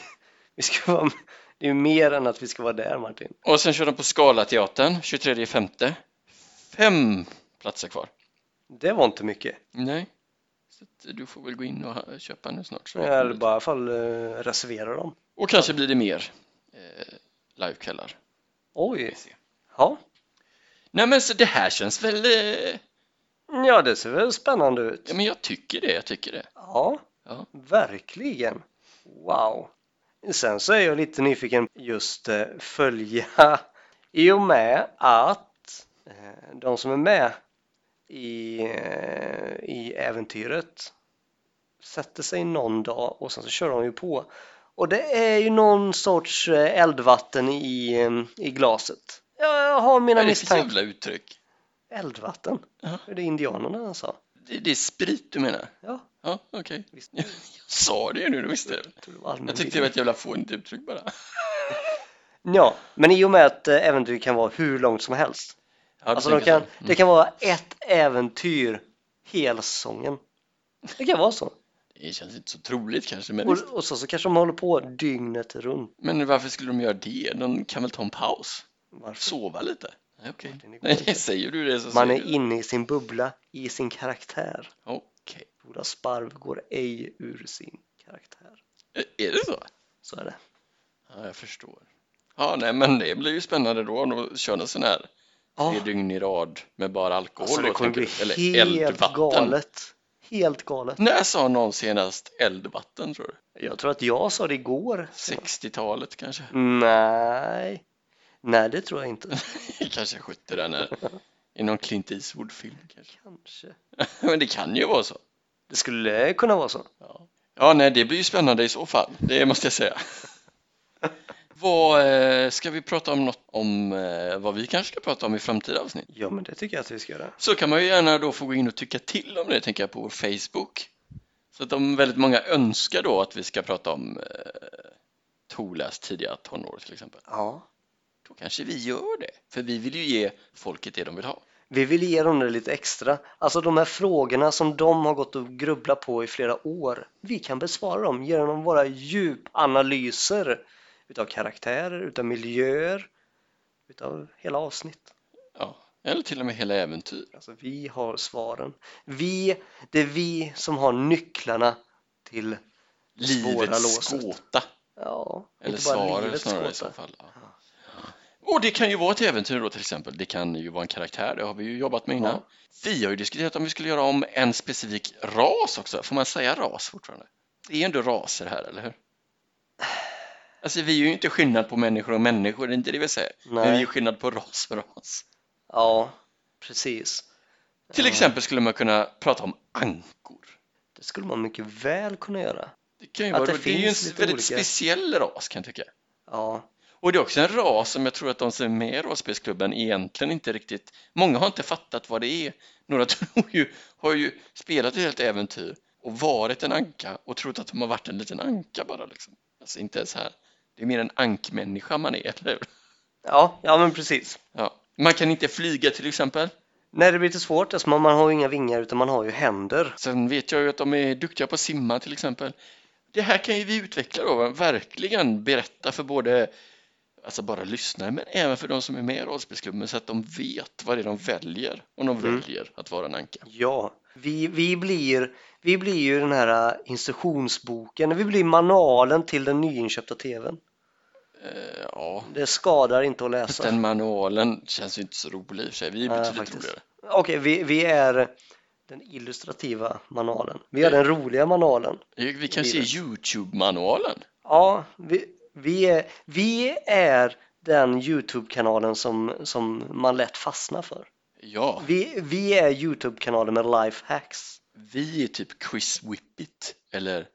vi ska vara, det är ju mer än att vi ska vara där Martin. Och sen kör de på Scalateatern 23 femte. Fem platser kvar. Det var inte mycket. Nej. Så att du får väl gå in och ha- köpa nu snart. Så Jag hade bara i alla fall eh, reservera dem. Och kanske blir det mer eh, livekvällar. Oj. Ja. Nej men så det här känns väl... Eh, ja, det ser väl spännande ut. ja men jag tycker det, jag tycker det. Ja, Ja. verkligen. Wow. Sen så är jag lite nyfiken just eh, följa i och med att eh, de som är med i, eh, i äventyret sätter sig någon dag och sen så kör de ju på. Och det är ju någon sorts eh, eldvatten i, eh, i glaset. Jag har Vad mina är det för misstankar. jävla uttryck? Eldvatten? Ja. Det är indianerna alltså. Det, det är sprit du menar? Ja. Ja, okej. Visst. Jag sa det nu, du visste jag. Jag tror det var allmän Jag tyckte det vilja. var ett jävla fånigt uttryck bara. Ja, men i och med att eh, äventyr kan vara hur långt som helst. Ja, du alltså de tänker kan, så. Mm. det kan vara ett äventyr hela säsongen. Det kan vara så. Mm. det känns inte så troligt kanske, men, Och, och så, så kanske de håller på dygnet runt. men varför skulle de göra det? De kan väl ta en paus? Varför? Sova lite? Nej, okej. Martin, det går Nej, inte. säger du det så Man säger är du. inne i sin bubbla, i sin karaktär. Okej. Ola Sparv går ej ur sin karaktär. Är det så? Så är det. Ja, jag förstår. Ja, nej, men det blir ju spännande då om de kör en sån här Ja, tre dygn i rad med bara alkohol. Ah, alltså det då, kommer tänker bli du? Eller helt eldvatten. galet. Helt galet. När sa någon senast eldvatten tror du? Jag tror att jag sa det igår. 60-talet kanske? Nej. Nej, det tror jag inte. kanske 70 där när, i någon Clint Eastwood-film kanske. Kanske. men det kan ju vara så. Det skulle kunna vara så. Ja, nej, det blir ju spännande i så fall. Det måste jag säga. vad, eh, ska vi prata om något om eh, vad vi kanske ska prata om i framtida avsnitt? Ja, men det tycker jag att vi ska göra. Så kan man ju gärna då få gå in och tycka till om det, tänker jag, på vår Facebook. Så att om väldigt många önskar då att vi ska prata om eh, Tolas tidiga tonår till exempel. Ja. Då kanske vi gör det, för vi vill ju ge folket det de vill ha. Vi vill ge dem det lite extra. Alltså de här frågorna som de har gått och grubblat på i flera år. Vi kan besvara dem genom våra djupanalyser utav karaktärer, utav miljöer, utav hela avsnitt. Ja. Eller till och med hela äventyr. Alltså vi har svaren. Vi, det är vi som har nycklarna till, Svåra Livets låset. gåta. ja, Eller inte bara svaret livets snarare i gåta. så fall. Ja. Och det kan ju vara ett äventyr då till exempel. Det kan ju vara en karaktär, det har vi ju jobbat med innan. Ja. Vi har ju diskuterat om vi skulle göra om en specifik ras också. Får man säga ras fortfarande? Det är ändå raser här, eller hur? Alltså vi är ju inte skillnad på människor och människor, det är inte det vi säger. Men Nej. vi är ju skillnad på ras och ras. Ja, precis. Till exempel skulle man kunna prata om ankor. Det skulle man mycket väl kunna göra. Det, kan ju Att vara, det det, är ju en finns väldigt lite olika. speciell ras kan jag tycka. Ja, Och det är också en ras som jag tror att de som är med i rollspelsklubben egentligen inte riktigt, många har inte fattat vad det är. Några tror ju, har ju spelat ett helt äventyr och varit en anka och trott att de har varit en liten anka bara liksom. Alltså inte ens här. Det är mer en ankmänniska man är, eller hur? ja, ja men precis. Ja. Man kan inte flyga till exempel. Nej, det blir lite svårt eftersom man har ju inga vingar utan man har ju händer. Sen vet jag ju att de är duktiga på att simma till exempel. Det här kan ju vi utveckla då, verkligen berätta för både alltså bara lyssnare men även för de som är med i rollspelsklubben så att de vet vad det är de väljer om de Mm. väljer att vara en anka. Ja, vi, vi, blir, vi blir ju den här äh, instruktionsboken, vi blir manualen till den nyinköpta tvn. Eh, ja, Det skadar inte att fast läsa. den manualen känns ju inte så rolig i och för sig. Vi är Alltså. Nej, betydligt faktiskt. roligare. Okej, vi, vi är den illustrativa manualen. Vi är den roliga manualen. Vi- Vi kan Vi se vet. Youtube-manualen. Ja, vi, vi, är, vi är den Youtube-kanalen som, som man lätt fastnar för. Ja, Vi, vi är Youtube-kanalen med lifehacks. vi är typ Quiz Whippet eller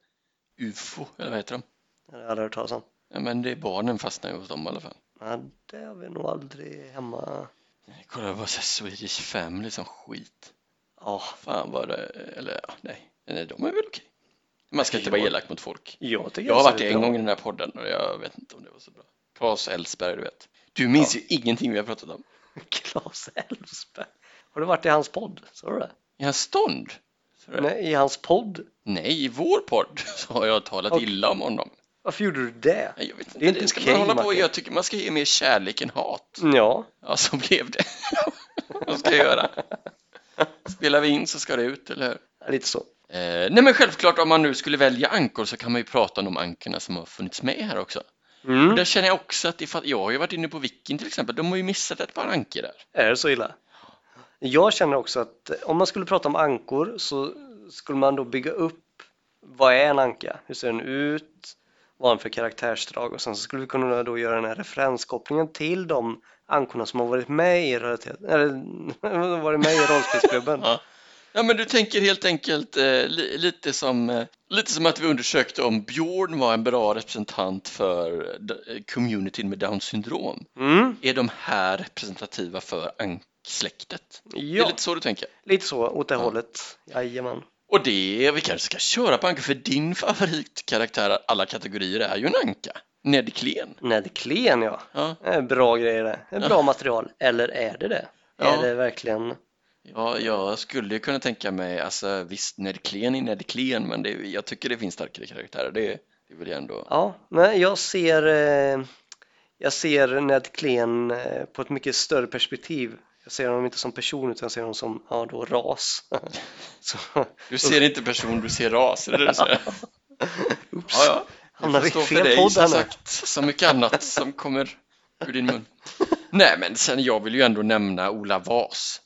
UFO eller vad heter de? Det har jag aldrig hört talas om. Ja, men det är barnen fastnar ju hos dem i alla fall. Ja, det har vi nog aldrig hemma. Nej, Kolla bara såhär Swedish Family som skit. Ja, Fan vad det, eller ja, nej, nej, de är väl okej. Man ska inte vara Ja. elak mot folk. jag tycker Jag har det varit ser det ut en bra. gång i den här podden och jag vet inte om det var så bra. Claes Elfsberg, du vet. Du minns ju ingenting vi har pratat om. Claes Elfsberg. Har du varit i hans podd? Sa du det? I hans stånd? Sa du det? Nej, i hans podd? Nej, i vår podd så har jag talat Okej. illa om honom. Varför gjorde du det? Nej, Jag vet inte, Det är inte ska okej, man hålla på. Martin. Jag tycker man ska ge mer kärlek än hat. Ja, Ja, så blev det. Vad ska jag göra? Spelar vi in så ska det ut, eller hur? lite så. Eh, nej men självklart om man nu skulle välja ankor så kan man ju prata om de ankorna som har funnits med här också. Och Mm. där känner jag också att ifall, jag har ju varit inne på Viking till exempel, de har ju missat ett par ankor där. Är det så illa? Jag känner också att om man skulle prata om ankor så skulle man då bygga upp vad är en anka? Hur ser den ut? Vad har den för karaktärsdrag? Och sen så skulle vi kunna då göra den här referenskopplingen till de ankorna som har varit med i, realitet- eller, varit med i rollspelsklubben. Ja. Ja men du tänker helt enkelt eh, li, lite, som, eh, lite som att vi undersökte om Björn var en bra representant för d- communityn med Downs syndrom. Mm, Är de här representativa för anksläktet? Det är ja, lite så du tänker? lite så åt det Ja. hållet. Jajamän. Och det, vi kanske ska köra på ankor för din favoritkaraktär alla kategorier är ju en anka. Ned Klen. Ned Klen ja. Ja, Det är Bra grejer det. Det är Bra material. Eller är det det? Ja. Är det verkligen? ja, jag skulle ju kunna tänka mig, alltså visst Ned Klen är Ned Klen, men det, jag tycker det finns starkare karaktärer. Det, det vill jag ändå. Ja, men jag ser, eh, jag ser Ned Klen eh, på ett mycket större perspektiv. Jag ser honom inte som person utan jag ser honom som, ja då, ras. Så, Du ser inte person, du ser ras, är det det du säger? oops. Ja, ja. Det Hamnar får vi stå i för fel dig podd som här nu? sagt, som mycket annat som kommer ur din mun. Nej, men sen jag vill ju ändå nämna Ola Vas.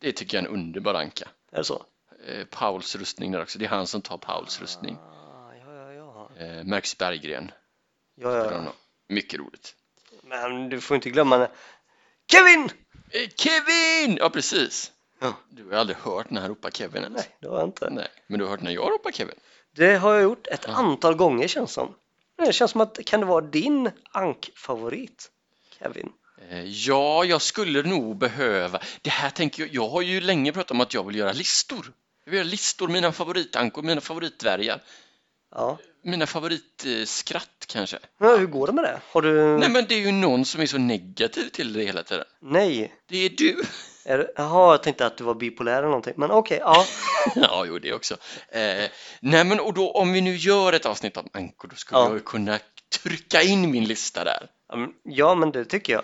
Det tycker jag är en underbar anka. Är det så? eh, Pauls rustning där också. Det är han som tar Pauls rustning. Ah, ja, ja, ja. Eh, Max Berggren. ja, ja, ja. Ja. Mycket roligt. Men du får inte glömma när... Kevin! Eh, Kevin! Ja, precis. Ja. Du har ju aldrig hört när han ropar Kevin ens. Nej, det har jag inte. Nej. Men du har hört när jag ropar Kevin. Det har jag gjort ett Ja. antal gånger känns som. Det känns som att, kan det vara din ankfavorit? Kevin? Eh, ja, jag skulle nog behöva. Det här tänker jag. Jag har ju länge pratat om att jag vill göra listor. Jag vill göra listor, mina favoritankor, mina favoritdvärgar. Ja. Mina favoritskratt kanske. Men hur går det med det? Har du... Nej, men det är ju någon som är så negativ till det hela tiden. Nej. Det är du. Är det, jaha, jag tänkte att du var bipolär eller någonting. Men okej, ja. Ja, jo, det också. Eh, nej, men och då om vi nu gör ett avsnitt om ankor, då skulle Ja. jag ju kunna trycka in min lista där. Ja, men- Ja, men det tycker jag.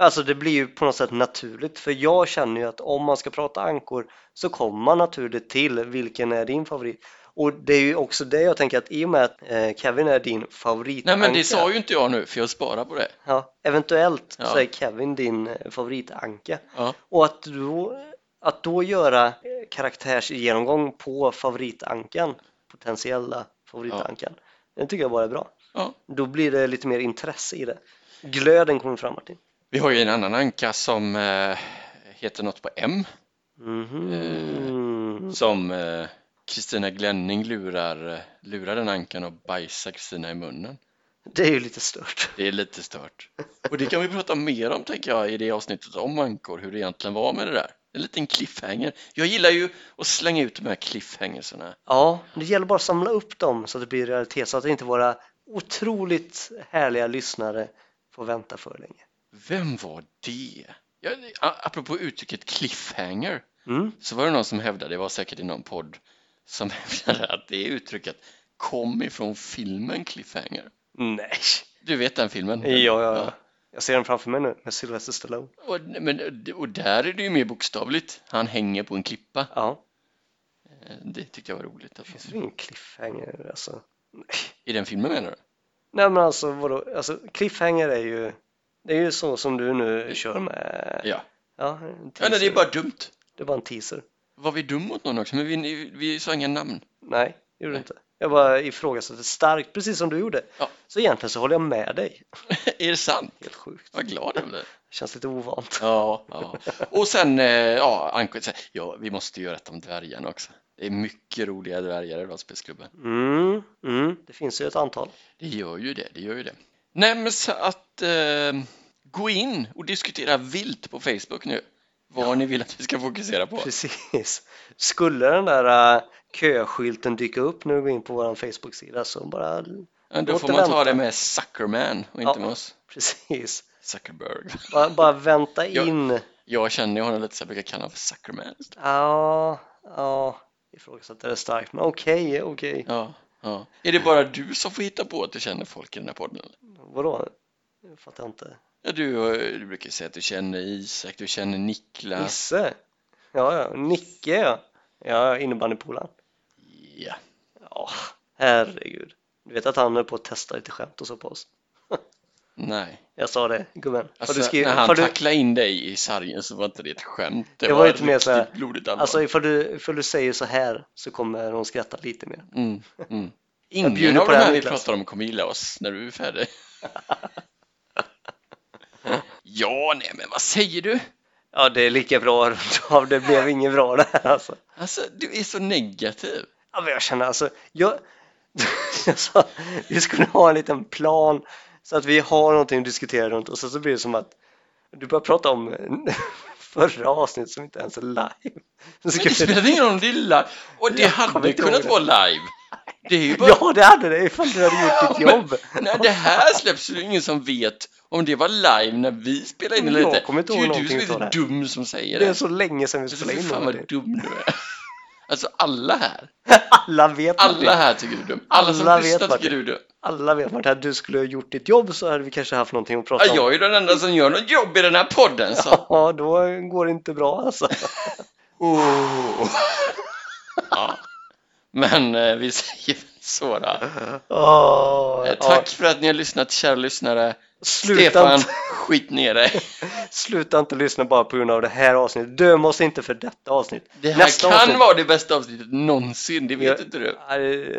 Alltså det blir ju på något sätt naturligt. För jag känner ju att om man ska prata ankor så kommer man naturligt till vilken är din favorit. Och det är ju också det jag tänker att i och med att eh, Kevin är din favoritanka. Nej, men det sa ju inte jag nu, för jag sparar på det. Ja, eventuellt Ja. så är Kevin din eh, favoritanka. Ja. Och att då, att då göra eh, karaktärsgenomgång på favoritankan, potentiella favoritankan, det tycker jag bara är bra. Ja. Då blir det lite mer intresse i det. Glöden kommer fram Martin. Vi har ju en annan anka som eh, heter något på M. Mhm. Som eh, Kristina Glänning lurar, eh, lurar den ankan och bajsar Kristina i munnen. Det är ju lite stört. Det är lite stört. Och det kan vi prata mer om tänker jag i det avsnittet om ankor, hur det egentligen var med det där. En liten cliffhanger. Jag gillar ju att slänga ut de här cliffhangerserna. Ja, det gäller bara att samla upp dem så att det blir realitet, så att inte våra otroligt härliga lyssnare får vänta för länge. Vem var det? Ja, det- a- apropå uttrycket cliffhanger Mm. så var det någon som hävdade, det var säkert i någon podd, som hävdade att det uttrycket kom ifrån filmen Cliffhanger. Nej, Du vet den filmen? ja, ja, ja. Jag ser den framför mig nu med Sylvester Stallone. Och, men, och där är det ju mer bokstavligt. Han hänger på en klippa. Ja, Eh, Det tyckte jag var roligt. det Alltså. finns väl ingen cliffhanger alltså. Nej. I den filmen menar du? Nej men alltså vadå, alltså cliffhanger är ju, det är ju så som du nu kör med. Ja. Ja, en ja nej, det är bara dumt. det är bara en teaser. Var vi dum mot någon också? Men vi, vi sa inga namn. Nej, det gjorde du Nej. inte. Jag bara ifrågasatte starkt, precis som du gjorde. Ja. Så egentligen så håller jag med dig. är det sant? Helt sjukt. Vad glad jag blev. Känns lite ovant. Ja, ja. Och sen, eh, ja, Anko, sen- ja, vi måste ju rätta om dvärgarna också. Det är mycket roliga dvärgar i rollspelsklubben. Mm, mm, det finns ju ett antal. Det gör ju det, det gör ju det. Nej, men så att eh, gå in och diskutera vilt på Facebook nu. Vad ni vill att vi ska fokusera på. Precis. Skulle den där äh, köskylten dyka upp när du går in på vår Facebook-sida så bara l- Ja, Då Låt får det man ta vänta. det med Zuckerman och inte Ja. med oss. precis, Zuckerberg. bara, bara vänta Ja. in. Jag känner ju honom lite så jag brukar kalla honom för Zuckerman. Ja, ja, ifrågasätter det starkt, men okej, okej. Ja, ja. Är det bara du som får hitta på att du känner folk i den här podden? eller? Vadå? Jag fattar inte. Ja, du, eh, du brukar ju säga att du känner Isak, du känner Niklas. Nisse? Ja, ja, Nicke ja. Ja, innebandypolaren. Ja. Ja, herregud. Du vet att han är på att testa lite skämt och så på oss. Nej. Jag sa det, gummen. Har Alltså, du skrivit, när han har du, tacklade in dig i sargen så var inte det ett skämt. Det, Det var var lite mer riktigt så här, blodigt allvar. Alltså ifall du, ifall du säger så här så kommer hon skratta lite mer. Mm, mm. Jag bjuder Ingen av på de det här, här vi Niklas. pratar om kommer gilla oss när du är färdig. ja, nej, men vad säger du? Ja, det är lika bra runt av. Det blev inget bra det här alltså. Alltså, du är så negativ. Ja, men jag känner alltså, jag, jag sa, vi skulle ha en liten plan så att vi har någonting att diskutera runt och sen så blir det som att du börjar prata om förra avsnittet som inte ens är live. Så Men det spelar ingen roll om det är live. Och det Jag kommer hade inte ihåg kunnat det. vara live. Det är ju bara... Ja, det hade det ifall du hade gjort ditt Ja, men- jobb. Nej, det här släpps ju ingen som vet om det var live när vi spelade in eller Jag inte. kommer inte det ihåg är ju du som någonting är utav det så här. dum som säger Det är det. så länge sedan vi Så spelade fy in fan någonting. vad dum du är. Alltså alla här, Alla vet vad det alla är. här tycker du är dum. Alla som Alla vet lyssnar vad tycker det- du är dum. alla vet vart hade du skulle ha gjort ditt jobb så hade vi kanske haft någonting att prata Ja, om. jag är ju den enda som gör något jobb i den här podden så. Ja, då går det inte bra alltså. Oh. Ja. Men eh, vi säger väl så då. Åh, Eh, ja. Tack för att ni har lyssnat kära lyssnare. Sluta Stefan, inte- skit ner dig. Sluta inte lyssna bara på grund av det här avsnittet. Döm oss inte för detta avsnitt. Det här Nästa kan avsnitt- vara det bästa avsnittet någonsin, det vet Ja. inte du. Nej,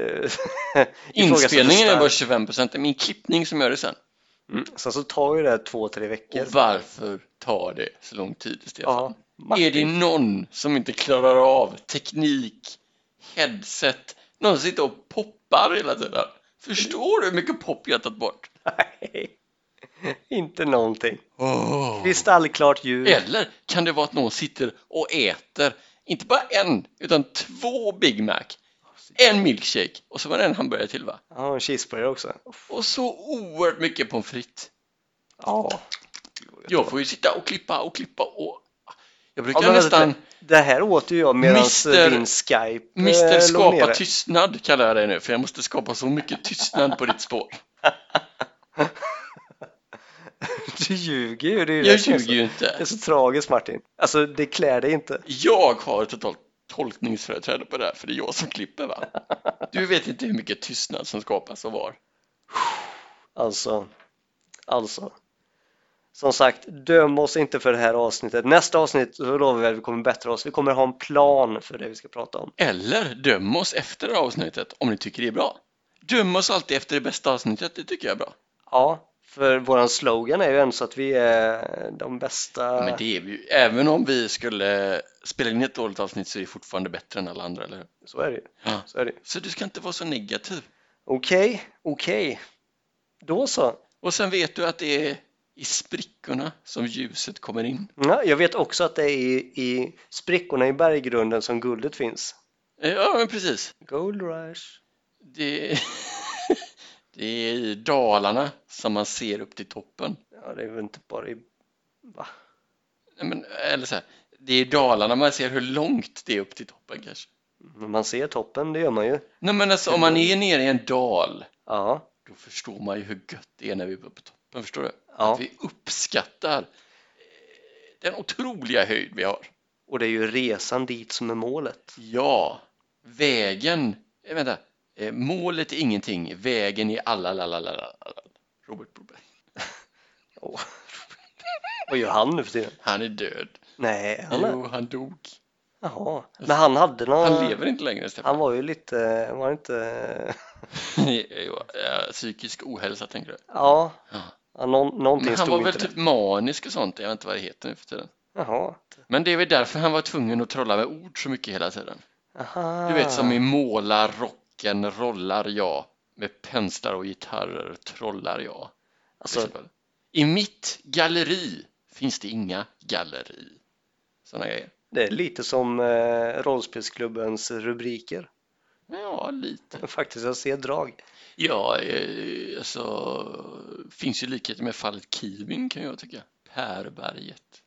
eh, Inspelningen är ifrågasätter bara 25%, det är min klippning som gör det sen. Mm. Sen så tar ju det här två, tre veckor. Och varför tar det så lång tid, Stefan? Ja, Martin. Är det någon som inte klarar av teknik, headset, någon som sitter och poppar hela tiden? Förstår du hur mycket pop jag har tagit bort? Nej, inte någonting. Åh. Kristallklart ljud. Eller kan det vara att någon sitter och äter, inte bara en, utan två Big Mac, en milkshake och så var det en hamburgare till va? Ja, en cheeseburgare också. Och så oerhört mycket pommes frites. Ja. Jag får ju sitta och klippa och klippa och jag Ja, brukar men nästan det, det här åt ju jag medan Mister- din Skype eh, Mister låg skapa nere. tystnad kallar jag dig nu för jag måste skapa så mycket tystnad på ditt spår. Du ljuger ju. Det är ju Jag det som är så- ljuger ju Det är inte. så tragiskt Martin. Alltså det klär dig inte. Jag har totalt tolkningsföreträde på det här för det är jag som klipper va? Du vet inte hur mycket tystnad som skapas och var. Alltså, alltså. Som sagt, döm oss inte för det här avsnittet. Nästa avsnitt så lovar vi att vi kommer bättra oss. Vi kommer ha en plan för det vi ska prata om. Eller döm oss efter det här avsnittet om ni tycker det är bra. Döm oss alltid efter det bästa avsnittet, det tycker jag är bra. Ja, För våran slogan är ju ens att vi är de bästa. Men det är vi ju. Även om vi skulle spela in ett dåligt avsnitt så är vi fortfarande bättre än alla andra, eller hur? Så är det ju. Ja. Så är det ju. Så du ska inte vara så negativ. Okej, okej. Då så. Och sen vet du att det är i sprickorna som ljuset kommer in. Ja, jag vet också att det är i, i sprickorna i berggrunden som guldet finns. Eh, Ja, men precis. Gold rush. Det, det är i Dalarna som man ser upp till toppen. Ja, det är väl inte bara i... Va? Nej, Men, eller så här, det är i Dalarna man ser hur långt det är upp till toppen kanske. Men Man ser toppen, det gör man ju. Nej, men alltså, om man är nere i en dal, Ja, då förstår man ju hur gött det är när vi är uppe på toppen. Förstår du? ja. Att vi uppskattar eh, den otroliga höjd vi har. Och det är ju resan dit som är målet. Ja, vägen. eh, Vänta. Eh, Målet är ingenting, vägen är alla, alla, alla, alla, alla. Robert Broberg. Åh. Vad gör han nu för tiden? Han är död. Nej, han är... Jo, han dog. Jaha. Men han hade någon... Han lever inte längre, Stefan. Han var ju lite, var han inte... Jo, eh, Psykisk ohälsa, tänker du? Ja, Ja. ja någon, någonting Men han stod var väl inte typ manisk och sånt. Jag vet inte vad det heter nu för tiden. rätt. Jaha. Men det är väl därför han var tvungen att trolla med ord så mycket hela tiden. Aha. Du vet som i målar rocken, rollar jag. Med penslar och gitarrer trollar jag. Till Alltså, exempel. I mitt galleri finns det inga galleri. Sådana grejer. det är lite som eh, rollspelsklubbens rubriker. Ja, lite. Faktiskt, jag ser drag. Ja, eh, alltså finns ju likheter med fallet Kivin kan jag tycka. Pärberget.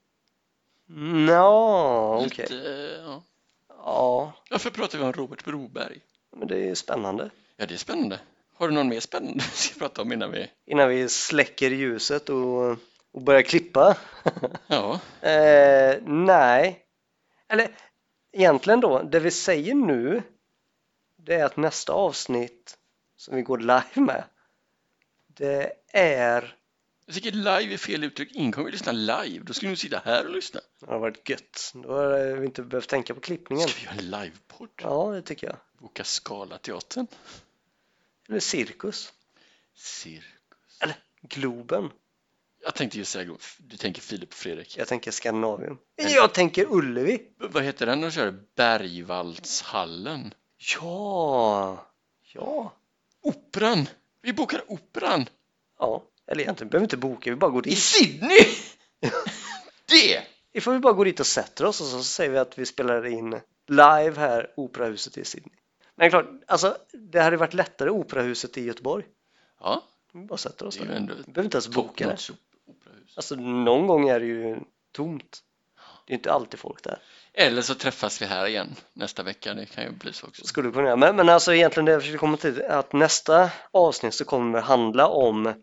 Nå, okej. Lite, eh, ja. Ja, Varför pratar vi om Robert Broberg? men det är spännande. Ja, det är spännande. Har du någon mer spännande vi ska prata om innan vi... Innan vi släcker ljuset och, och börjar klippa. Ja, Eh, nej. Eller egentligen då, det vi säger nu det är att nästa avsnitt som vi går live med det är... jag tycker live är fel uttryck. Ingen kommer ju lyssna live. Då skulle du sitta här och lyssna. Det har varit gött. Då har vi inte behövt tänka på klippningen. Ska vi göra en livepodd? Ja, det tycker jag. Boka Scalateatern? Eller cirkus. Cirkus. Eller Globen. Jag tänkte ju säga, du tänker Filip och Fredrik. Jag tänker Skandinavium. Jag tänker Ullevi. Vad heter den de kör? Bergvallshallen? Ja! Ja. Operan! Vi bokar operan! Ja. Eller egentligen behöver vi inte boka, vi bara går I dit. Sydney! det! Ifall vi bara går dit och sätter oss och så säger vi att vi spelar in live här, Operahuset i Sydney. Men klart, alltså det hade varit lättare Operahuset i Göteborg. Ja, Vi bara sätter oss Det är där. ju ändå Vi behöver inte ens boka det. top-notch op- operahus. Alltså någon gång är det ju tomt. Det är inte alltid folk där. Eller så träffas vi här igen nästa vecka. Det kan ju bli så också. Så Skulle vi kunna göra. Men, men alltså egentligen det jag försökte komma till är att nästa avsnitt så kommer det handla om,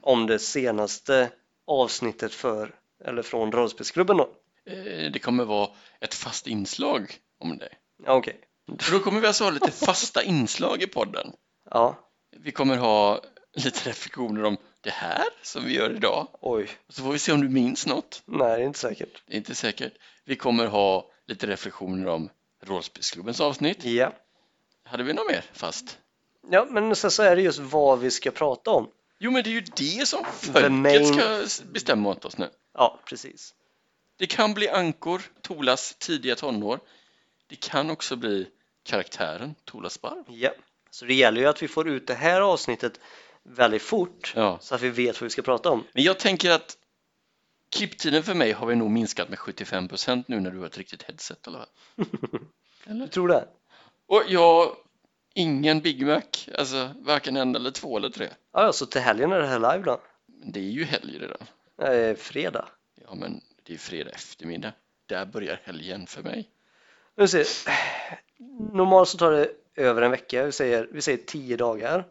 om det senaste avsnittet för, eller från rollspelsklubben då. Eh, Det kommer vara ett fast inslag om det. Ja, okej. För då kommer vi alltså ha lite fasta inslag i podden. Ja, Vi kommer ha lite reflektioner om det här som vi gör idag. oj. Så får vi se om du minns något. Nej, det är inte säkert. Det är inte säkert. Vi kommer ha lite reflektioner om rollspelsklubbens avsnitt. Ja. Hade vi något mer fast? Ja, men sen så är det just vad vi ska prata om. Jo, men det är ju det som main- folket ska s- bestämma åt oss nu. Ja, precis. Det kan bli ankor, Tolas tidiga tonår. Det kan också bli karaktären Tolas sparv. Ja. Så det gäller ju att vi får ut det här avsnittet väldigt fort Ja. så att vi vet vad vi ska prata om. Men jag tänker att klipptiden för mig har vi nog minskat med 75% nu när du har ett riktigt headset. Eller? vad? Du tror det? Och jag, ingen Big Mac, alltså varken en eller två eller tre. Ja, ja, så till helgen är det här live då? Men det är ju helg redan. Eh, fredag. Ja, men det är fredag eftermiddag. Där börjar helgen för mig. Nu ser. Normalt så tar det över en vecka. Vi säger, vi säger tio dagar.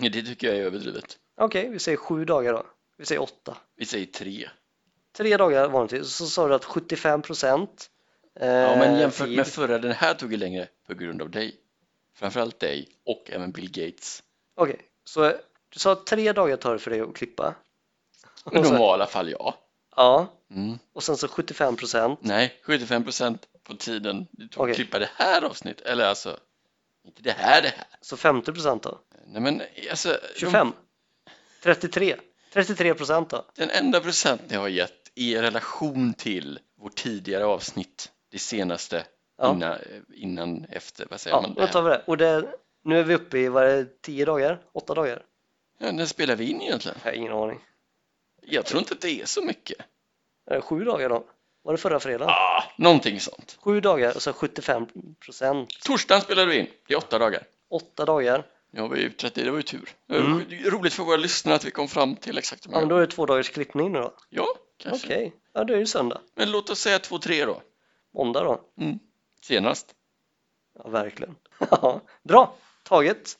Ja, Det tycker jag är överdrivet. Okej, vi säger sju dagar då. Vi säger åtta. Vi säger tre. Tre dagar vanligtvis. Så sa du att 75 procent. eh, Ja, men jämfört med förra, den här tog ju längre på grund av dig. Framförallt dig och även Bill Gates. Okej, så du sa att tre dagar tar det för dig att klippa? I Och så- normala fall, ja. Ja, Mm. och sen så 75 procent. Nej, 75 procent på tiden det tog Okej. att klippa det här avsnittet. Eller alltså, inte det här, det här. Så 50 procent då? Nej, men alltså. de- 25? 33? 33 procent då. Den enda procent ni har gett i relation till vårt tidigare avsnitt, det senaste Ja. innan, innan, efter, vad säger Ja, man? Det då tar här. vi det. Och det, nu är vi uppe i, vad är det, 10 dagar? 8 dagar? Ja, när spelar vi in egentligen? Jag har ingen aning. Jag tror inte att det är så mycket. Är det 7 dagar då? Var det förra fredagen? Ah, någonting sånt. 7 dagar och så 75 procent. Torsdagen spelar vi in, det är åtta dagar. 8 dagar. Nu har vi ju 30, det var ju tur. Det Mm. var ju Roligt för våra lyssnare att vi kom fram till exakt hur Ja, men många. då är det 2 dagars klippning nu då. Ja, Okej, kanske. ja det är ju söndag. Men låt oss säga två, tre då. Måndag då. Senast. Ja, verkligen. Ja, Bra, taget.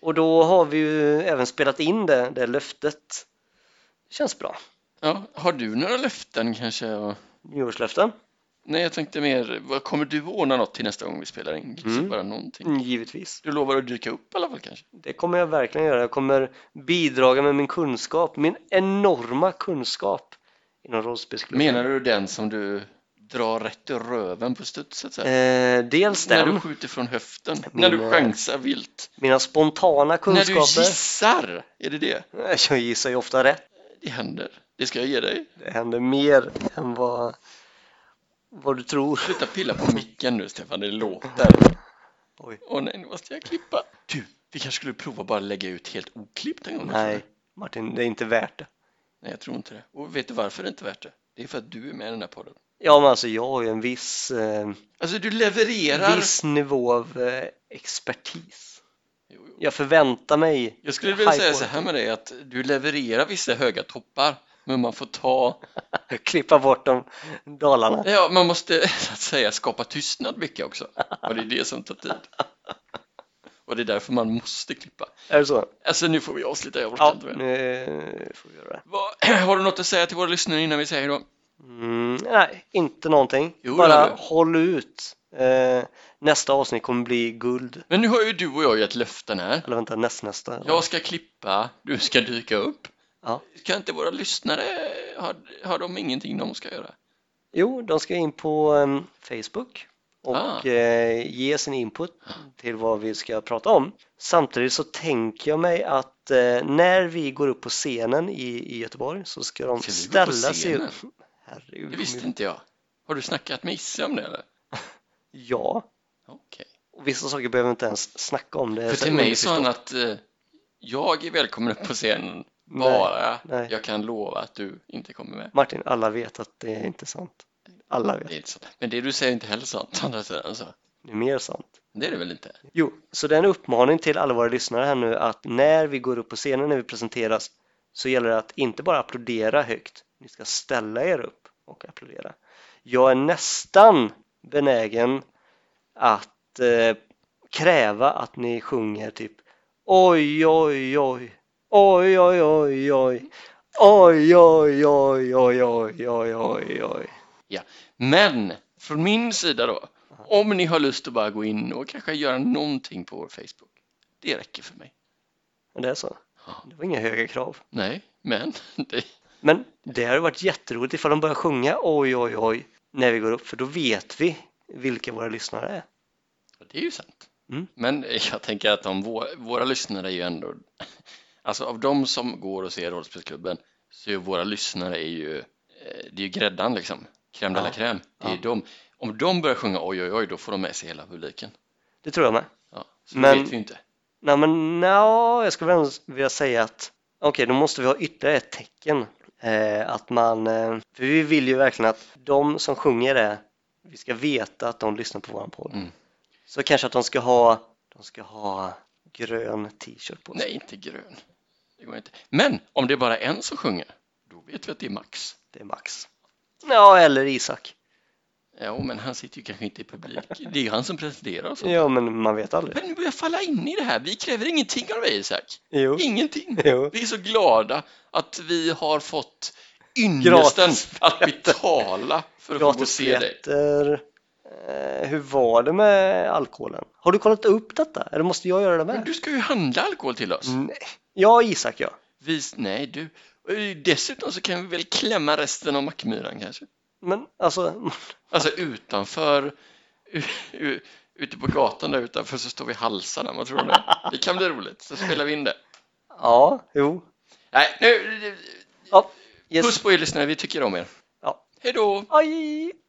Och då har vi ju även spelat in det, det löftet. Känns bra. Ja, har du några löften kanske? Nyårslöften? Nej, jag tänkte mer, vad kommer du ordna något till nästa gång vi spelar in? Kanske Mm. bara någonting. Mm, givetvis. Du lovar att dyka upp i alla fall kanske? Det kommer jag verkligen göra. Jag kommer bidra med min kunskap, min enorma kunskap inom rollspelsklubben. Menar du den som du drar rätt ur röven på studset? Så här? Eh, dels När du den, skjuter från höften? Min, när du eh, chansar vilt? mina spontana När du kunskaper. gissar? Är det det? Jag gissar ju ofta rätt. Det händer. Det ska jag ge dig. Det händer mer än vad, vad du tror. Sluta pilla på micken nu Stefan, det låter. Oj. Åh nej, nu måste jag klippa. Du, vi kanske skulle prova bara lägga ut helt oklippt en gång. Nej, Martin, det är inte värt det. Nej, jag tror inte det. Och vet du varför det är inte värt det? Det är för att du är med i den här podden. Ja, men alltså jag har ju en viss, eh, Alltså du levererar. viss nivå av eh, expertis. Jo, jo. Jag förväntar mig Jag skulle vilja high säga så här med dig att du levererar vissa höga toppar, men man får ta, quality. Klippa bort de dalarna. ja man måste så att säga skapa tystnad mycket också. Och det är det som tar tid. Och det är därför man måste klippa. Är det så? Alltså nu får vi avsluta, jag orkar Ja, inte mer. nu eh, får vi göra det. Vad- Har du något att säga till våra lyssnare innan vi säger hejdå? Mm, nej, inte någonting. Jo, det Bara hade du. håll ut. Eh, nästa avsnitt kommer bli guld. Men nu har ju du och jag gett löften här. Eller vänta, nästnästa. Jag ska klippa, du ska dyka upp. Ja. Kan inte våra lyssnare, har, har de ingenting de ska göra? Jo, de ska in på em, Facebook och Ah. eh, ge sin input till vad vi ska prata om. Samtidigt så tänker jag mig att eh, när vi går upp på scenen i, i Göteborg så ska de Ska vi gå ställa på sig scenen? upp. Herregud, Det vi visste kommer ju- inte jag. Har du snackat med Isse om det eller? Ja, Okej. och vissa saker behöver vi inte ens snacka om. Eh, Det är För så till mig sa underförstått. han att eh, jag är välkommen upp på scenen Nej, bara nej. jag kan lova att du inte kommer med. Martin, alla vet att det är inte sant. Alla vet. Det är inte sant. Men det du säger är inte heller sant å andra sidan. Så. Det är mer sant. Det är det väl inte? Jo, så det är en uppmaning till alla våra lyssnare här nu att när vi går upp på scenen, när vi presenteras, så gäller det att inte bara applådera högt, ni ska ställa er upp och applådera. Jag är nästan benägen att eh, kräva att ni sjunger typ oj, oj, oj, oj, oj, oj, oj, oj, oj, oj, oj, oj, oj, oj, oj. Men från min sida då, om ni har lust att bara gå in och kanske göra någonting på vår Facebook. Det räcker för mig. Men Det är så. Det var inga höga krav. Nej, men det, Men det hade varit jätteroligt ifall de börjar sjunga oj oj oj när vi går upp för då vet vi vilka våra lyssnare är. det är ju sant. Mm. Men jag tänker att om våra, våra lyssnare är ju ändå, alltså av de som går och ser Rollspelsklubben så är våra lyssnare är ju, eh, det är ju gräddan liksom, crème de la Ja. crème. Det är ju Ja. de. Om de börjar sjunga oj oj oj då får de med sig hela publiken. Det tror jag med. Ja, så det Men- vet vi ju inte. Nej men no, jag skulle väl vilja säga att okej då måste vi ha ytterligare ett tecken. Eh, att man, eh, för vi vill ju verkligen att de som sjunger det, vi ska veta att de lyssnar på våran podd. Mm. Så kanske att de ska ha, de ska ha grön t-shirt på sig. Nej, inte grön. Det går inte. Men om det är bara en som sjunger, då vet vi att det är Max. Det är Max. Ja, eller Isak. Ja, men han sitter ju kanske inte i publik. Det är ju han som presenterar och så. Ja men man vet aldrig. Men nu börjar jag falla in i det här. Vi kräver ingenting av dig Isak. Jo. Ingenting. Jo. Vi är så glada att vi har fått ynnesten Gratis. att betala för att få gå och se dig. Gratisbiljetter. Eh, hur var det med alkoholen? Har du kollat upp detta? Eller måste jag göra det Men med? du ska ju handla alkohol till oss. Nej. Ja, Isak ja. Vi, nej, du. Eh, Dessutom så kan vi väl klämma resten av Mackmyran kanske. Men alltså, Alltså utanför, u, u, ute på gatan där utanför så står vi halsarna, vad tror du? Det kan bli roligt, så spelar vi in det. ja, jo. Nej, nu, Ja, yes. puss på er lyssnare, vi tycker om er. Ja. Hej då! Aj!